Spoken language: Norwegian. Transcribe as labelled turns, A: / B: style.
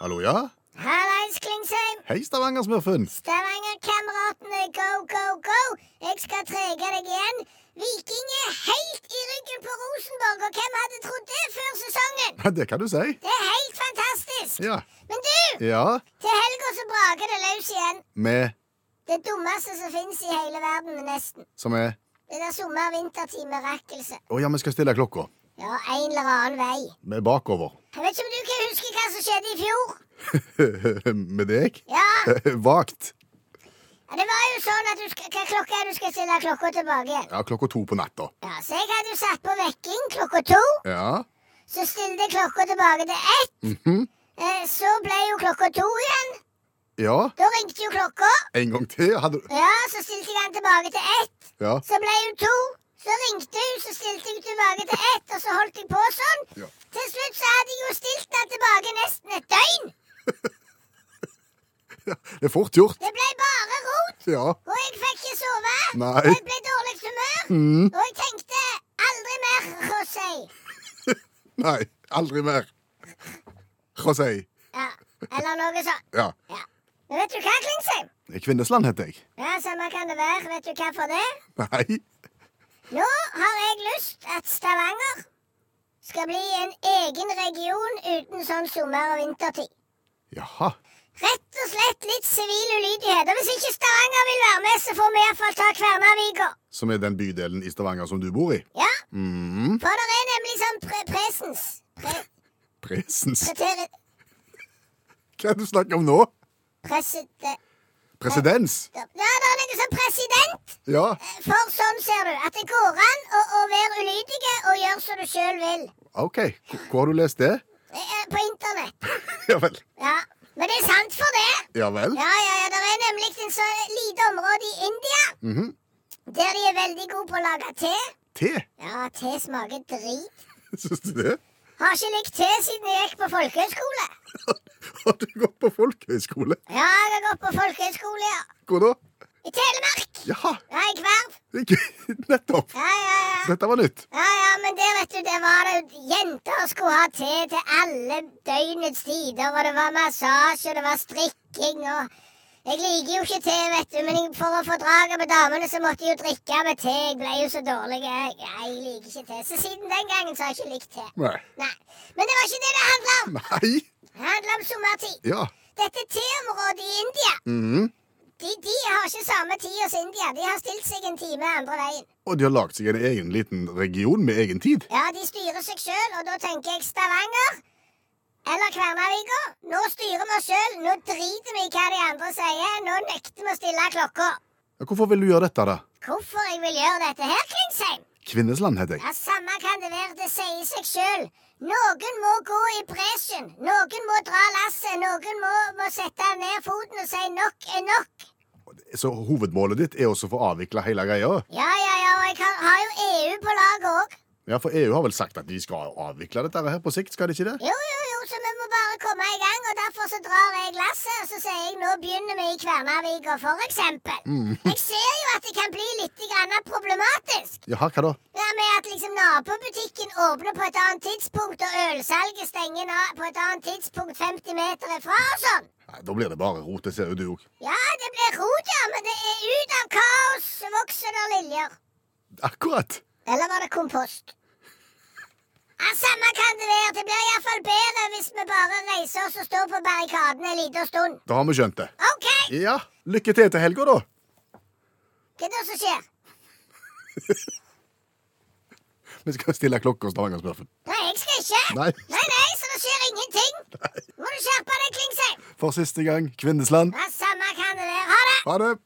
A: Hallo, ja?
B: Hallais, Klingsheim!
A: Hei, Stavanger-smurfen.
B: Stavanger-kameratene, go, go, go! Jeg skal trege deg igjen. Viking er helt i ryggen på Rosenborg, og hvem hadde trodd det før sesongen?
A: Ja, Det kan du si.
B: Det er helt fantastisk!
A: Ja.
B: Men du,
A: Ja,
B: til helga så braker det løs igjen.
A: med
B: Det dummeste som fins i hele verden, nesten.
A: som er
B: Det der sommer-vintertime-rakkelse.
A: Å ja, vi skal stille klokka.
B: Ja, en eller annen vei.
A: Med bakover.
B: Jeg vet ikke om du kan huske hva som skjedde i fjor?
A: med deg?
B: Ja,
A: Vagt.
B: Ja, det var jo sånn at du skal, hva klokka er det du skal stille klokka tilbake igjen?
A: Ja, klokka to på natta.
B: Ja, så jeg hadde jo satt på vekking klokka to.
A: Ja. Mhm.
B: Så stilte jeg klokka tilbake til ett. eh, så ble jo klokka to igjen.
A: Ja.
B: Da ringte jo klokka.
A: En gang til. Hadde du
B: Ja, så stilte jeg den tilbake til ett.
A: Ja.
B: Så ble hun to. Så ringte hun, så stilte jeg tilbake til ett, og så holdt jeg på sånn.
A: Ja.
B: Til slutt så hadde jeg jo stilt den tilbake nesten et døgn.
A: Det er fort gjort.
B: Det ble bare rot,
A: Ja.
B: og jeg fikk ikke sove.
A: Nei.
B: Og jeg ble i dårlig humør,
A: Mm.
B: og jeg tenkte aldri mer José.
A: Nei, aldri mer. José.
B: Ja, eller noe sånt.
A: Ja.
B: Ja. Men vet du hva, Klingsheim?
A: Kvinnesland heter jeg.
B: Ja, samme kan det være. Vet du hva for det?
A: Nei.
B: Nå har jeg lyst at Stavanger skal bli en egen region uten sånn sommer- og vintertid.
A: Jaha.
B: Rett og slett litt sivil ulydighet. Og hvis ikke Stavanger vil være med, så får vi iallfall ta Kværnervika.
A: Som er den bydelen i Stavanger som du bor i?
B: Ja,
A: Mm.
B: for det er nemlig sånn pre presens. Pre
A: Presens.
B: preteri-
A: Hva er det du snakker om nå?
B: preside-
A: Presedens?
B: ja, det er noe sånn president.
A: Ja.
B: For sånn ser du at det går an å, å være ulydige og gjøre som du sjøl vil.
A: OK. Hvor- Hvor har du lest det?
B: Eh, På internett.
A: Ja vel.
B: Ja. Men det er sant for det.
A: Ja vel.
B: Ja, ja, ja, det er nemlig en så lite område i India
A: Mhm.
B: der de er veldig gode på å lage te.
A: Te?
B: Ja, te smaker drit.
A: Syns du det?
B: Har ikke likt te siden jeg gikk på folkehøyskole.
A: Har du gått på folkehøyskole?
B: Ja, jeg har gått på folkehøyskole, ja.
A: Hvor da?
B: I Telemark.
A: Ja,
B: Ja, i Kverv.
A: ikke- nettopp.
B: Ja, ja, ja.
A: Dette var nytt.
B: Ja, ja, men der, vet du, der var det jo Jenter skulle ha te til alle døgnets tider, og det var massasje, og det var strikking, og Jeg liker jo ikke te, vet du, men jeg- for å få draget med damene, så måtte jeg jo drikke med te. Jeg ble jo så dårlig. Jeg, jeg liker ikke te. Så siden den gangen så har jeg ikke likt te.
A: Nei.
B: Nei. Men det var ikke det det handla om.
A: Nei.
B: Det handla om sommertid.
A: Ja.
B: Dette teområdet i India,
A: Mhm.
B: de, de har ikke samme tid hos India. De har stilt seg en time andre veien.
A: Og de har lagd seg en egen liten region med egen tid.
B: Ja, de styrer seg sjøl, og da tenker jeg Stavanger eller Kværnervika. Nå styrer vi oss sjøl, nå driter vi i hva de andre sier, nå nekter vi å stille klokka.
A: Ja, Hvorfor vil du gjøre dette, da?
B: Hvorfor jeg vil gjøre dette her, Klingsheim?
A: Kvinnesland heter jeg.
B: Ja, Samme kan det være, det sier seg sjøl. Noen må gå i bresjen. Noen må dra lasset. Noen må, må sette ned foten og si nok er nok.
A: Så hovedmålet ditt er også å få avvikla hele greia?
B: Ja, ja, ja, og jeg har, har jo EU på laget òg.
A: Ja, for EU har vel sagt at de skal avvikle dette her på sikt, skal de ikke det?
B: Jo, jo, jo, så vi må bare komme i gang, og derfor så drar jeg lasset, og så sier jeg nå begynner vi i Kværnervika, for eksempel. Jeg ser jo at det kan bli litt grann problematisk.
A: Jaha, hva da?
B: Ja, med at liksom nabobutikken åpner på et annet tidspunkt, og ølsalget stenger na- på et annet tidspunkt 50 meter ifra og sånn.
A: Nei, Da blir det bare rot, det ser jo du òg.
B: Ja, det blir rot, ja, men det er ut av kaos vokser der liljer.
A: Akkurat.
B: Eller var det kompost? Ja, Samme kan det være. Det blir iallfall bedre hvis vi bare reiser oss og står på barrikadene en liten stund.
A: Da har vi skjønt det.
B: OK!
A: Ja, lykke til til helga, da.
B: Hva er det som skjer?
A: Vi skal stille klokka, Stavanger-smurfen.
B: Nei, jeg skal ikke.
A: Nei.
B: nei, nei, så det skjer ingenting. Må du skjerpe deg, Klingsheim.
A: For siste gang, Kvinnesland.
B: Ja, Samme kan det være. Ha det!
A: Ha det.